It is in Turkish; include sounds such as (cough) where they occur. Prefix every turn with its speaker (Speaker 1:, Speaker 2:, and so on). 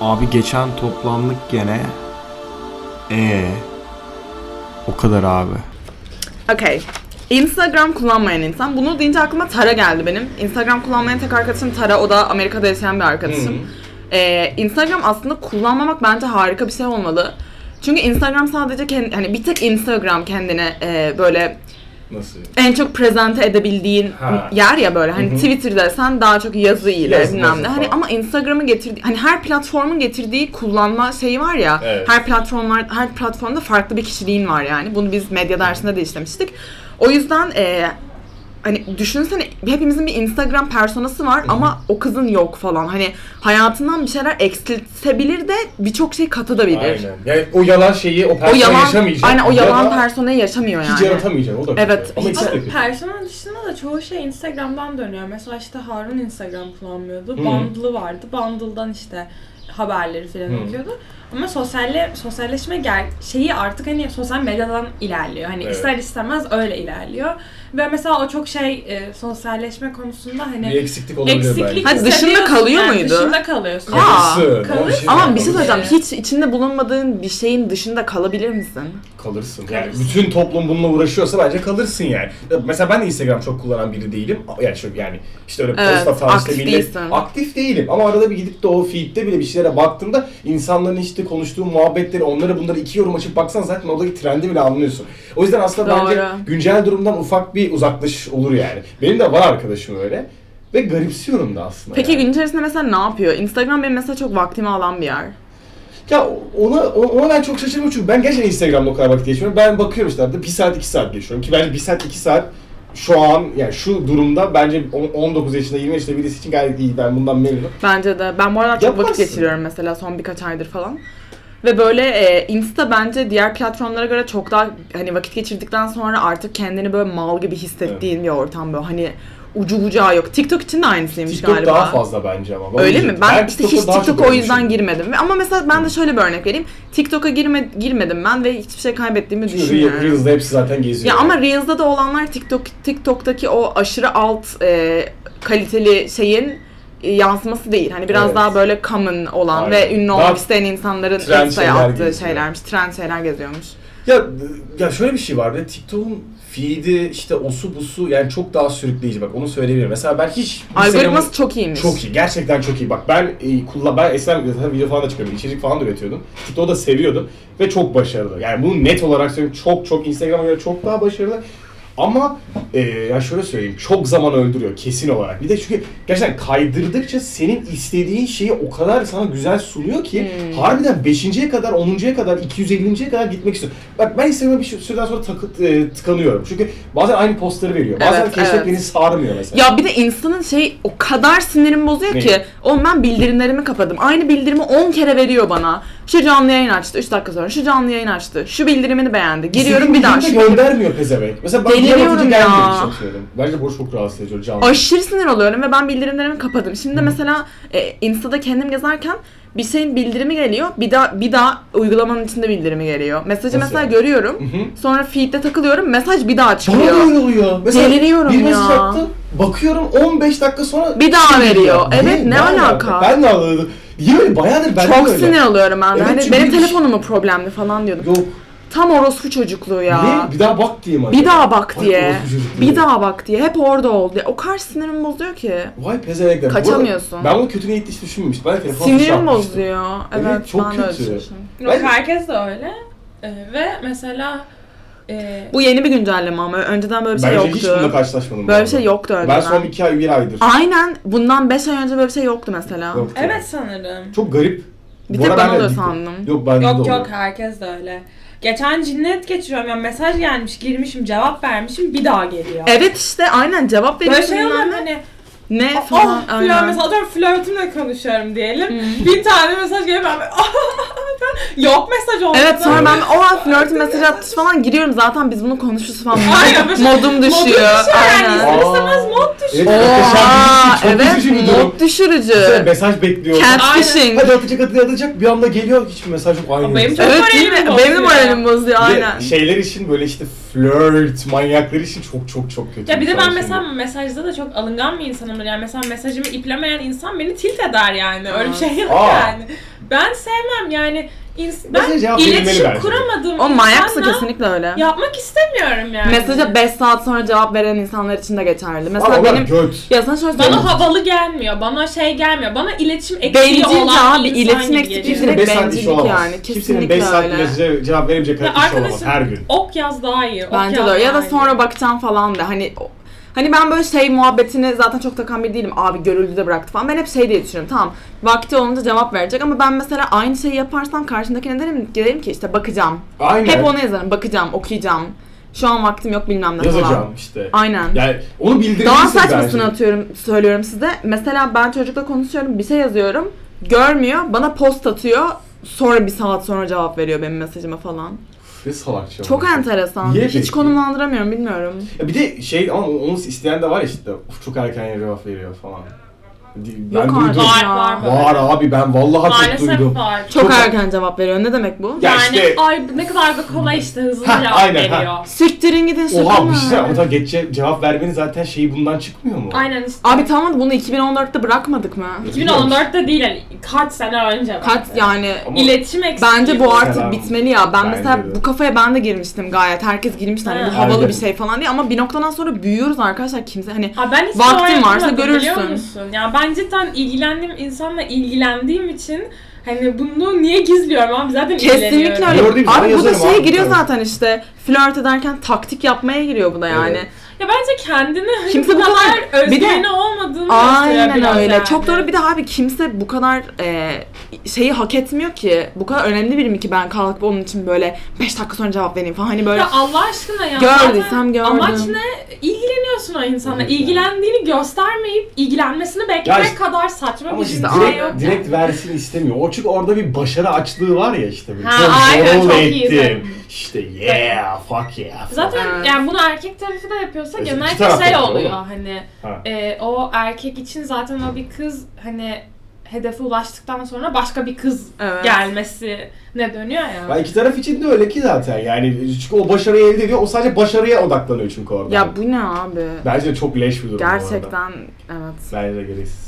Speaker 1: Abi geçen toplandık gene. E o kadar abi.
Speaker 2: Okay. Instagram kullanmayan insan. Bunu deyince aklıma Tara geldi benim. Instagram kullanmayan tek arkadaşım Tara. O da Amerika'da yaşayan bir arkadaşım. Ee, Instagram aslında kullanmamak bence harika bir şey olmalı. Çünkü Instagram sadece kendi, hani bir tek Instagram kendine e, böyle
Speaker 3: Nasıl?
Speaker 2: en çok prezente edebildiğin
Speaker 3: Ha.
Speaker 2: yer ya böyle. Hani Twitter'da sen daha çok yazı ile
Speaker 3: Yazı,
Speaker 2: bilmem
Speaker 3: yazı
Speaker 2: ne. Hani
Speaker 3: falan.
Speaker 2: ama Instagram'ı getirdi hani her platformun getirdiği kullanma şeyi var ya.
Speaker 3: Evet.
Speaker 2: Her platformlar her platformda farklı bir kişiliğin var yani. Bunu biz medya dersinde de işlemiştik. O yüzden e, hani düşünsene hepimizin bir Instagram personası var ama o kızın yok falan. Hani hayatından bir şeyler eksiltebilir de birçok şey katabilir.
Speaker 3: Aynen. Yani o yalan şeyi o
Speaker 2: O
Speaker 3: persona
Speaker 2: yalan,
Speaker 3: yaşamayacak.
Speaker 2: aynen o
Speaker 3: Ya
Speaker 2: yalan
Speaker 3: da
Speaker 2: personayı yaşamıyor yani.
Speaker 3: Hiç yaratamayacak o da.
Speaker 2: Evet,
Speaker 3: kötü. Ama
Speaker 2: hiç-
Speaker 3: ikisi de
Speaker 4: Ama
Speaker 3: kötü.
Speaker 4: personel dışında da çoğu şey Instagram'dan dönüyor. Mesela işte Harun Instagram kullanmıyordu.
Speaker 3: Hı.
Speaker 4: Bundle'ı vardı. Bundle'dan işte haberleri falan
Speaker 3: Hı.
Speaker 4: okuyordu. Ama sosyalle, sosyalleşme ger- şeyi artık hani sosyal medyadan ilerliyor. Hani
Speaker 3: Evet.
Speaker 4: ister istemez öyle ilerliyor. Ve mesela o çok şey e, sosyalleşme konusunda hani
Speaker 3: Bir eksiklik olabilir belki.
Speaker 4: eksiklik
Speaker 2: Ha, dışında
Speaker 4: hissediyorsun.
Speaker 2: kalıyor
Speaker 4: Yani
Speaker 2: muydu?
Speaker 4: Dışında kalıyorsun.
Speaker 2: Aa,
Speaker 3: Kalırsın.
Speaker 4: kalır.
Speaker 3: O işin
Speaker 2: Ama
Speaker 3: var,
Speaker 2: bir şey
Speaker 3: kalırsın.
Speaker 2: söyleyeceğim. Hiç içinde bulunmadığın bir şeyin dışında kalabilir misin?
Speaker 3: Kalırsın. Yani
Speaker 4: Kalırsın.
Speaker 3: bütün toplum bununla uğraşıyorsa bence kalırsın yani. Mesela ben de Instagram çok kullanan biri değilim. Yani şu yani işte öyle
Speaker 2: Evet,
Speaker 3: posta falan
Speaker 2: aktif
Speaker 3: işte millet-
Speaker 2: değilsin.
Speaker 3: aktif değilim ama arada bir gidip de o feed'de bile bir şeylere baktığımda insanların işte konuştuğu muhabbetleri, onlara bunları iki yorum açıp baksan zaten oradaki trendi bile anlıyorsun. O yüzden aslında bence
Speaker 2: Doğru.
Speaker 3: güncel durumdan ufak bir uzaklaş olur yani. Benim de var arkadaşım öyle ve garipsiyorum da aslında.
Speaker 2: Peki
Speaker 3: yani.
Speaker 2: gün içerisinde mesela ne yapıyor? Instagram benim mesela çok vaktimi alan bir yer.
Speaker 3: Ya ona, ona ben çok şaşırmıyorum çünkü ben gerçekten Instagram'da o kadar vakit geçmiyorum. Ben bakıyorum işte arada 1 saat 2 saat geçiyorum ki bence 1 saat 2 saat şu an yani şu durumda bence on- 19 yaşında 20 yaşında birisi için gayet iyi ben bundan memnunum.
Speaker 2: Bence de. Ben bu aralar çok vakit
Speaker 3: Yaparsın.
Speaker 2: geçiriyorum mesela son birkaç aydır falan. Ve böyle e, Insta bence diğer platformlara göre çok daha hani vakit geçirdikten sonra artık kendini böyle mal gibi hissettiğin bir ortam böyle hani ucu bucağı yok. TikTok için de aynısıymış
Speaker 3: TikTok
Speaker 2: galiba.
Speaker 3: daha fazla bence ama.
Speaker 2: Öyle mi? Ben, işte hiç
Speaker 3: TikTok'a daha çok şey.
Speaker 2: TikTok'a o yüzden
Speaker 3: alışmışım.
Speaker 2: girmedim. Ama mesela ben de şöyle bir örnek vereyim. TikTok'a girme, girmedim ben ve hiçbir şey kaybettiğimi
Speaker 3: Çünkü
Speaker 2: düşünmüyorum.
Speaker 3: Reel- Reels'da hepsi zaten geziyor.
Speaker 2: Ya ama Reels'da da olanlar TikTok TikTok'taki o aşırı alt e, kaliteli şeyin e, yansıması değil. Hani biraz
Speaker 3: Evet.
Speaker 2: daha böyle common olan
Speaker 3: Aynen.
Speaker 2: ve ünlü olmak
Speaker 3: Daha
Speaker 2: isteyen insanların
Speaker 3: trend
Speaker 2: Insta'ya
Speaker 3: şeyler
Speaker 2: attığı
Speaker 3: geziyor.
Speaker 2: şeylermiş. Trend şeyler geziyormuş.
Speaker 3: Ya, ya şöyle bir şey var bir de TikTok'un feed'i işte osu busu yani çok daha sürükleyici bak onu söyleyebilirim. Mesela ben hiç
Speaker 2: Algoritması çok iyiymiş.
Speaker 3: Çok iyi. Gerçekten çok iyi. Bak ben e, kullan ben eskiden zaten video falan da çıkıyordum. içerik falan da üretiyordum. TikTok'u da seviyordum ve çok başarılı. Yani bunu net olarak söylüyorum. Çok çok Instagram'a göre çok daha başarılı. Ama e, ya şöyle söyleyeyim. Çok zaman öldürüyor kesin olarak. Bir de çünkü gerçekten kaydırdıkça senin istediğin şeyi o kadar sana güzel sunuyor ki
Speaker 2: Hmm.
Speaker 3: harbiden 5.ye kadar, 10.ya kadar, 250.ye kadar gitmek istiyor. Bak ben Instagram'a bir sü- süreden sonra takı, e, tıkanıyorum. Çünkü bazen aynı postları veriyor. Bazen
Speaker 2: Evet,
Speaker 3: keşfet
Speaker 2: evet.
Speaker 3: beni sarmıyor mesela.
Speaker 2: Ya bir de insanın şey o kadar sinirimi bozuyor
Speaker 3: Neyi?
Speaker 2: ki. Oğlum ben bildirimlerimi kapadım. Aynı bildirimi 10 kere veriyor bana. Şu canlı yayın açtı 3 dakika sonra. Şu canlı yayın açtı. Şu bildirimini beğendi. Giriyorum bir daha.
Speaker 3: Bizim
Speaker 2: Şu
Speaker 3: bildirimde göndermiyor pezevenk. Mesela bak
Speaker 2: Deliriyorum
Speaker 3: Deliriyorum ya.
Speaker 2: ya.
Speaker 3: gelmiyor hiç atıyorum. Bence bu çok rahatsız ediyor canlı.
Speaker 2: aşırı sinir oluyorum ve ben bildirimlerimi kapadım. Şimdi mesela e, Insta'da kendim gezerken bir şeyin bildirimi geliyor. Bir daha bir daha uygulamanın içinde bildirimi geliyor. Mesajı
Speaker 3: Nasıl
Speaker 2: mesela
Speaker 3: yani?
Speaker 2: görüyorum.
Speaker 3: hı.
Speaker 2: Sonra feed'de takılıyorum. Mesaj bir daha
Speaker 3: Bana da
Speaker 2: çıkıyor.
Speaker 3: öyle oluyor. Mesela
Speaker 2: Deliriyorum
Speaker 3: bir mesaj
Speaker 2: ya.
Speaker 3: attı, bakıyorum 15 dakika sonra...
Speaker 2: Bir daha
Speaker 3: şey
Speaker 2: veriyor.
Speaker 3: geliyor.
Speaker 2: Evet, ne alaka?
Speaker 3: Ben de anladım. Niye öyle? Bayağıdır ben de
Speaker 2: Çok
Speaker 3: öyle.
Speaker 2: sinir oluyorum ben. de.
Speaker 3: Evet,
Speaker 2: hani
Speaker 3: çünkü
Speaker 2: benim
Speaker 3: bir-
Speaker 2: telefonum mu problemli falan diyordum.
Speaker 3: Yok.
Speaker 2: Tam orospu çocukluğu ya.
Speaker 3: Ne? Bir daha bak diye mi?
Speaker 2: Bir
Speaker 3: acaba?
Speaker 2: daha bak
Speaker 3: Ay,
Speaker 2: diye.
Speaker 3: orospu çocuk
Speaker 2: Bir
Speaker 3: diyor.
Speaker 2: daha bak diye. Hep orada oldu. O kadar sinirimi bozuyor ki.
Speaker 3: Vay pezevenkler. Bu arada
Speaker 2: Kaçamıyorsun.
Speaker 3: Ben bunu kötü niyetli hiç düşünmemiştim. Ben telefon
Speaker 2: Sinirim
Speaker 3: fişi atmıştım.
Speaker 2: bozuyor. Evet,
Speaker 3: Evet, çok
Speaker 2: ben de öyle
Speaker 3: kötü.
Speaker 2: düşünmüşüm.
Speaker 4: Yok
Speaker 3: Ben-
Speaker 4: herkes de öyle. E, ve mesela e,
Speaker 2: Bu yeni bir güncelleme ama. Önceden böyle bir şey
Speaker 3: Bence
Speaker 2: yoktu.
Speaker 3: hiç bununla karşılaşmadım.
Speaker 2: Böyle
Speaker 3: bu
Speaker 2: bir şey
Speaker 3: arada.
Speaker 2: yoktu önceden.
Speaker 3: Ben son 2 ay, 1 aydır.
Speaker 2: Ah. Aynen bundan 5 ay önce böyle bir şey yoktu mesela.
Speaker 3: Yoktu.
Speaker 4: evet sanırım.
Speaker 3: Çok garip.
Speaker 2: Bir
Speaker 3: Bu
Speaker 2: tek
Speaker 3: arada
Speaker 2: bana
Speaker 3: ben de
Speaker 2: oluyor
Speaker 3: değil.
Speaker 2: sandım.
Speaker 3: Yok bende de
Speaker 4: Yok
Speaker 3: oluyor.
Speaker 4: yok herkes de öyle. Geçen cinnet geçiriyorum yani mesaj gelmiş girmişim cevap vermişim bir daha geliyor.
Speaker 2: Evet işte aynen cevap veriyor.
Speaker 4: Böyle şey olur
Speaker 2: bilmem
Speaker 4: mu
Speaker 2: ne.
Speaker 4: hani
Speaker 2: Ne
Speaker 4: ah
Speaker 2: falan
Speaker 4: ah,
Speaker 2: aynen.
Speaker 4: (laughs) flört mesela atıyorum flörtümle konuşuyorum diyelim. Bir tane mesaj geliyor ben böyle, ah, ah, ah, Yok mesaj olmadı.
Speaker 2: Evet sonra ben o an flörtün mesajı atmış falan giriyorum zaten biz bunu konuşuruz falan.
Speaker 4: Aynen,
Speaker 2: (laughs)
Speaker 4: böyle-
Speaker 2: Modum düşüyor.
Speaker 4: Modum düşüyor yani.
Speaker 2: Aynen.
Speaker 4: İster istemez mod
Speaker 3: Evet,
Speaker 4: düşüyor.
Speaker 2: Oha
Speaker 3: muhteşem bir şey, çok
Speaker 2: evet
Speaker 3: üzücü bir durum.
Speaker 2: mod
Speaker 3: Mesela
Speaker 2: düşürücü.
Speaker 3: mesaj bekliyor.
Speaker 2: Catfishing.
Speaker 3: Hadi atacak atacak atacak bir anda geliyor hiçbir mesaj yok. Aynı.
Speaker 4: Benim çok
Speaker 2: Evet değil
Speaker 4: moralim
Speaker 2: mi?
Speaker 4: bozuyor.
Speaker 2: Benim de moralim bozuyor
Speaker 3: Bir de
Speaker 2: aynen.
Speaker 3: Şeyler için böyle işte flört, manyaklar için çok çok çok kötü.
Speaker 4: Ya bir de
Speaker 3: insan
Speaker 4: ben mesela
Speaker 3: şimdi.
Speaker 4: mesajda da çok alıngan bir insanımdır. Yani mesela mesajımı iplemeyen insan beni tilt eder yani. Öyle bir şey yok
Speaker 3: Aa.
Speaker 4: yani. Ben sevmem yani. İns-
Speaker 3: Mesela cevap
Speaker 4: ben
Speaker 3: verilmeli
Speaker 4: iletişim
Speaker 3: bence.
Speaker 4: kuramadığım
Speaker 2: O manyaksa
Speaker 4: insanla
Speaker 2: kesinlikle öyle.
Speaker 4: yapmak istemiyorum yani.
Speaker 2: Mesaja 5 saat sonra cevap veren insanlar için de geçerli. Mesela
Speaker 3: Valla onlar
Speaker 2: benim
Speaker 3: göt.
Speaker 2: ya sana şöyle söyleyeyim.
Speaker 4: Bana havalı gelmiyor, bana şey gelmiyor, bana iletişim eksikliği
Speaker 2: Bencilce
Speaker 4: olan
Speaker 2: abi,
Speaker 4: bir
Speaker 2: iletişim
Speaker 4: insan gibi
Speaker 2: eksikliği direkt
Speaker 4: geliyor.
Speaker 3: Kimsenin 5 saat
Speaker 2: bencillik
Speaker 3: işi olamaz.
Speaker 2: yani,
Speaker 3: Kimsenin 5
Speaker 2: kesinlikle
Speaker 3: saat
Speaker 2: öyle.
Speaker 3: mesaja cevap veremeyecek
Speaker 4: Ya
Speaker 3: kadar kişi olamaz
Speaker 4: arkadaşım
Speaker 3: şey her gün.
Speaker 4: ok yaz daha iyi. Ok
Speaker 2: Bence
Speaker 4: yaz
Speaker 2: de öyle. Ya
Speaker 4: daha
Speaker 2: da
Speaker 4: iyi.
Speaker 2: sonra bakacağım falan da hani o- Hani ben böyle şey muhabbetini zaten çok takan biri değilim. Abi görüldü de bıraktı falan. Ben hep şey diye düşünüyorum. Tamam vakti olunca cevap verecek ama ben mesela aynı şeyi yaparsam karşımdakine derim, derim ki işte bakacağım.
Speaker 3: Aynen.
Speaker 2: Hep onu yazarım. Bakacağım, okuyacağım. Şu an vaktim yok bilmem ne falan.
Speaker 3: Yazacağım işte.
Speaker 2: Aynen.
Speaker 3: Yani onu bildirirsin
Speaker 2: Daha
Speaker 3: bence.
Speaker 2: saçmasını atıyorum, söylüyorum size. Mesela ben çocukla konuşuyorum, bir şey yazıyorum. Görmüyor, bana post atıyor. Sonra bir saat sonra cevap veriyor benim mesajıma falan.
Speaker 3: Ne salakça.
Speaker 2: Çok
Speaker 3: olmuş.
Speaker 2: enteresan.
Speaker 3: Niye
Speaker 2: Hiç
Speaker 3: peki?
Speaker 2: konumlandıramıyorum, bilmiyorum.
Speaker 3: Ya bir de şey ama onu isteyen de var ya işte "Uf, çok erken cevap veriyor falan. Ben
Speaker 2: Yok
Speaker 3: duydum.
Speaker 2: artık
Speaker 4: Var,
Speaker 2: ya.
Speaker 4: var böyle.
Speaker 3: Var abi ben vallahi çok
Speaker 4: Maalesef
Speaker 3: duydum.
Speaker 4: var.
Speaker 2: Çok,
Speaker 3: Çok-
Speaker 2: erken cevap veriyor. Ne demek bu?
Speaker 3: Ya
Speaker 4: yani
Speaker 3: işte-
Speaker 4: ay ne kadar da kolay işte hızlı
Speaker 3: Ha,
Speaker 4: cevap
Speaker 3: aynen, ha.
Speaker 4: veriyor.
Speaker 2: Sürttürün gidin şaka
Speaker 3: Oha
Speaker 2: mı?
Speaker 3: bir şey ama tabii geçe cevap vermenin zaten şeyi bundan çıkmıyor mu?
Speaker 4: Aynen işte.
Speaker 2: Abi tamam da bunu 2014'te bırakmadık mı?
Speaker 4: 2014'te değil yani kaç sene önce.
Speaker 2: Kaç
Speaker 4: bence.
Speaker 2: yani
Speaker 3: Ama-
Speaker 4: İletişim eksikliği.
Speaker 2: Bence bu artık
Speaker 3: Selam.
Speaker 2: bitmeli ya. Ben
Speaker 3: Bence
Speaker 2: mesela
Speaker 3: de.
Speaker 2: bu kafaya ben de girmiştim gayet. Herkes girmişti hani
Speaker 4: Ha.
Speaker 2: bu havalı
Speaker 3: Aynen.
Speaker 2: bir şey falan diye ama bir noktadan sonra büyüyoruz arkadaşlar kimse hani
Speaker 4: Ha ben hiç
Speaker 2: Vaktin
Speaker 4: doğru
Speaker 2: varsa
Speaker 4: yapmadım, biliyor
Speaker 2: görürsün.
Speaker 4: musun? Ya ben cidden ilgilendiğim insanla ilgilendiğim için hani bunu niye gizliyorum abi zaten ilgileniyorum.
Speaker 2: kesinlikle öyle.
Speaker 3: Gördüğüm zaman
Speaker 2: Abi bu da
Speaker 3: yazarım
Speaker 2: şeye
Speaker 3: abi,
Speaker 2: giriyor
Speaker 3: tabii.
Speaker 2: zaten işte flört ederken taktik yapmaya giriyor bu da yani.
Speaker 3: Evet.
Speaker 4: Ya bence kendini hani
Speaker 2: Kimse
Speaker 4: bu
Speaker 2: bu kadar-
Speaker 4: kadar
Speaker 2: Bir de-
Speaker 4: özgüveni olmadığını gösteriyor
Speaker 2: Aynen
Speaker 4: biraz
Speaker 2: öyle.
Speaker 4: yani.
Speaker 2: Çok doğru. Bir de abi kimse bu kadar e, şeyi hak etmiyor ki. Bu kadar önemli biri mi ki ben kalkıp onun için böyle 5 dakika sonra cevap vereyim falan. Hani böyle
Speaker 4: Ya Allah aşkına ya.
Speaker 2: Gördüysem
Speaker 4: zaten
Speaker 2: gördüm.
Speaker 4: Amaç ne? İlgileniyorsun o insana.
Speaker 3: Evet.
Speaker 4: İlgilendiğini göstermeyip ilgilenmesini beklemek
Speaker 3: Ya işte-
Speaker 4: kadar saçma
Speaker 3: Ama
Speaker 4: bir
Speaker 3: işte
Speaker 4: şey
Speaker 3: direkt,
Speaker 4: yok. yani.
Speaker 3: direkt versin istemiyor. O çünkü orada bir başarı açlığı var ya işte. Böyle.
Speaker 4: Ha,
Speaker 3: çok
Speaker 4: aynen,
Speaker 3: yol
Speaker 4: çok iyi zaten.
Speaker 3: ettim. İşte yeah, fuck yeah.
Speaker 4: Zaten
Speaker 2: Evet.
Speaker 4: yani bunu erkek tarafı da yapıyorsa
Speaker 3: İki
Speaker 4: genellikle
Speaker 3: taraf da
Speaker 4: şey
Speaker 3: yapıyor,
Speaker 4: oluyor
Speaker 3: oğlum.
Speaker 4: hani
Speaker 3: Ha.
Speaker 4: e, o erkek için zaten o bir kız hani hedefe ulaştıktan sonra başka bir kız
Speaker 2: Evet.
Speaker 4: gelmesi ne dönüyor ya.
Speaker 3: Ya iki taraf için de öyle ki zaten yani çünkü o başarıyı elde ediyor o sadece başarıya odaklanıyor çünkü orada.
Speaker 2: ya bu ne abi?
Speaker 3: Bence de çok leş bir durum bu arada.
Speaker 2: Gerçekten evet.
Speaker 3: Bence de gereksiz.